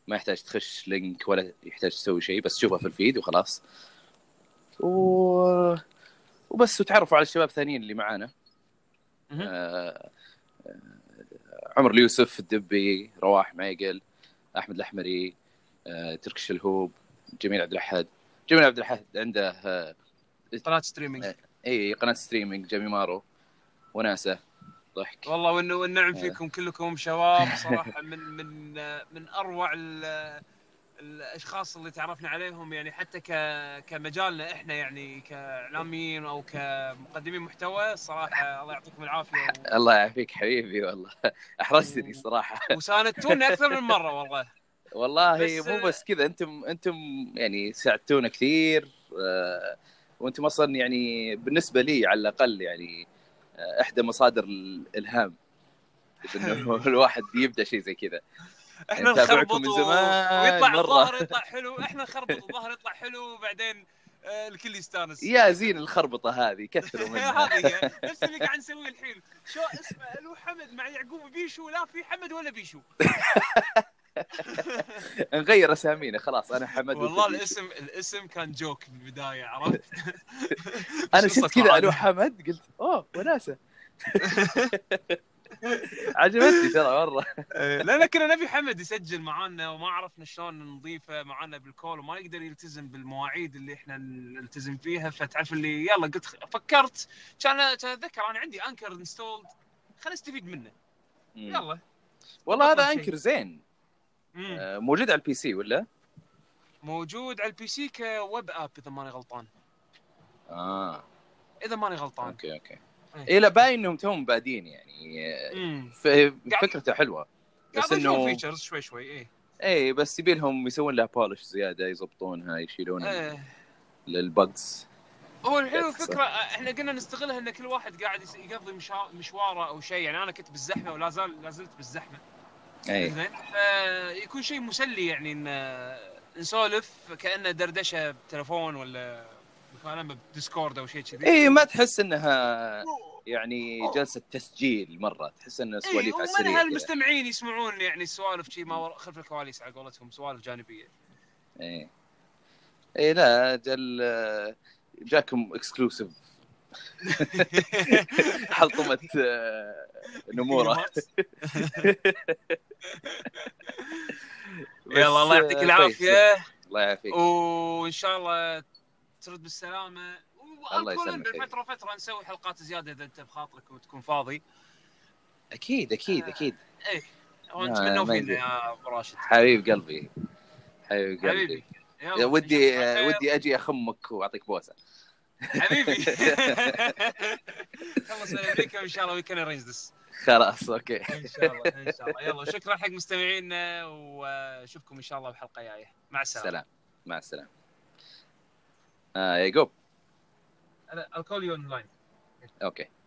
ما يحتاج تخش لينك ولا يحتاج تسوي شيء بس تشوفها في الفيد وخلاص و... وبس وتعرفوا على الشباب الثانيين اللي معانا
مهم.
آه، آه، عمر اليوسف الدبي رواح معيقل احمد الاحمري آه، ترك الشلهوب جميل عبد الاحد جميل عبد الاحد عنده آه،
قناه ستريمينج
إيه. اي قناه ستريمينج جيمي مارو وناسه ضحك
والله والن- والنعم
آه.
فيكم كلكم شباب صراحه من من من اروع ال- الاشخاص اللي تعرفنا عليهم يعني حتى ك كمجالنا احنا يعني كاعلاميين او كمقدمين محتوى صراحه الله يعطيكم العافيه
الله يعافيك حبيبي والله احرجتني
آه.
صراحه
و- وساندتونا اكثر من مره والله
والله
بس-
مو بس كذا انتم انتم يعني ساعدتونا كثير آه، وانتم اصلا يعني بالنسبه لي على الاقل يعني آه، احدى مصادر الالهام انه الواحد يبدا شيء زي كذا
احنا
نتابعكم
نخربط
من
و-
زمان
ويطلع
مرة.
الظهر يطلع حلو احنا نخربط الظهر يطلع حلو وبعدين آه، الكل يستانس
يا زين الخربطه هذه كثروا منها
هذه نفس اللي قاعد نسويه الحين شو اسمه الو حمد مع يعقوب بيشو لا في حمد ولا بيشو
نغير اسامينا خلاص انا حمد
والله الاسم الاسم كان جوك بالبدايه عرفت
انا
شو
شفت
قصة
كذا
معانا؟
الو حمد قلت اوه وناسه عجبتني ترى مره
إيه، لان كنا نبي حمد يسجل معانا وما عرفنا شلون نضيفه معانا بالكول وما يقدر يلتزم بالمواعيد اللي احنا نلتزم فيها فتعرف اللي يلا قلت خ- فكرت كان كان اتذكر انا عندي انكر انستولد خلينا نستفيد منه يلا
والله هذا
أفضل شيء.
انكر زين
مم.
آه، موجود على البي سي ولا؟
موجود على البي سي كويب اب اذا ماني غلطان
اه
اذا ماني غلطان
اوكي اوكي
إيه.
اي لا باين انهم توم بادين يعني آه،
امم
ف- فكرته حلوه بس
قاعد اشوف
انه
فيتشرز شوي شوي ايه
اي بس يبي لهم يسوون لها بولش زياده يضبطونها يشيلون
آه.
البجز
هو الحلو
صح.
الفكره احنا قلنا نستغلها ان كل واحد قاعد يس- يقضي مشا- مشواره او شيء يعني انا كنت بالزحمه ولا زال لا زلت بالزحمه
اي
زين فيكون شيء مسلي يعني ان نسولف كانه دردشه بتلفون ولا مكالمه بديسكورد او شيء كذي
اي إيه، ما تحس انها يعني جلسه تسجيل مره تحس انها
إيه،
سواليف على
ومنها
السريع كذا.
المستمعين يسمعون يعني سوالف شي ما ورا- خلف الكواليس على قولتهم سوالف جانبيه
اي اي إيه. لا جل جاكم اكسكلوسيف حلطمه آه، نموره بس،
يلا الله يعطيك
آه،
العافيه
كويس. الله يعافيك
وان شاء الله ترد بالسلامه
الله
وأقول
يسلمك،
بين فتره وفتره نسوي حلقات زياده اذا انت بخاطرك وتكون فاضي
اكيد
آه.
اكيد اكيد
وانت
آه،
منه
ما
وفينا
يدري.
يا ابو راشد
حبيب قلبي حبيب قلبي
حبيبي
يا
يلا،
ودي آه،
نشوفك على
ودي اجي اخمك واعطيك بوسه
خير. حبيبي خلص من امريكا وان شاء الله ويكن ارينج ذس
خلاص اوكي
ان شاء الله ان شاء الله يلا شكرا حق مستمعينا واشوفكم ان شاء الله بحلقه جايه مع السلامه
سلام مع السلامه آه يعقوب
انا I'll call you online
اوكي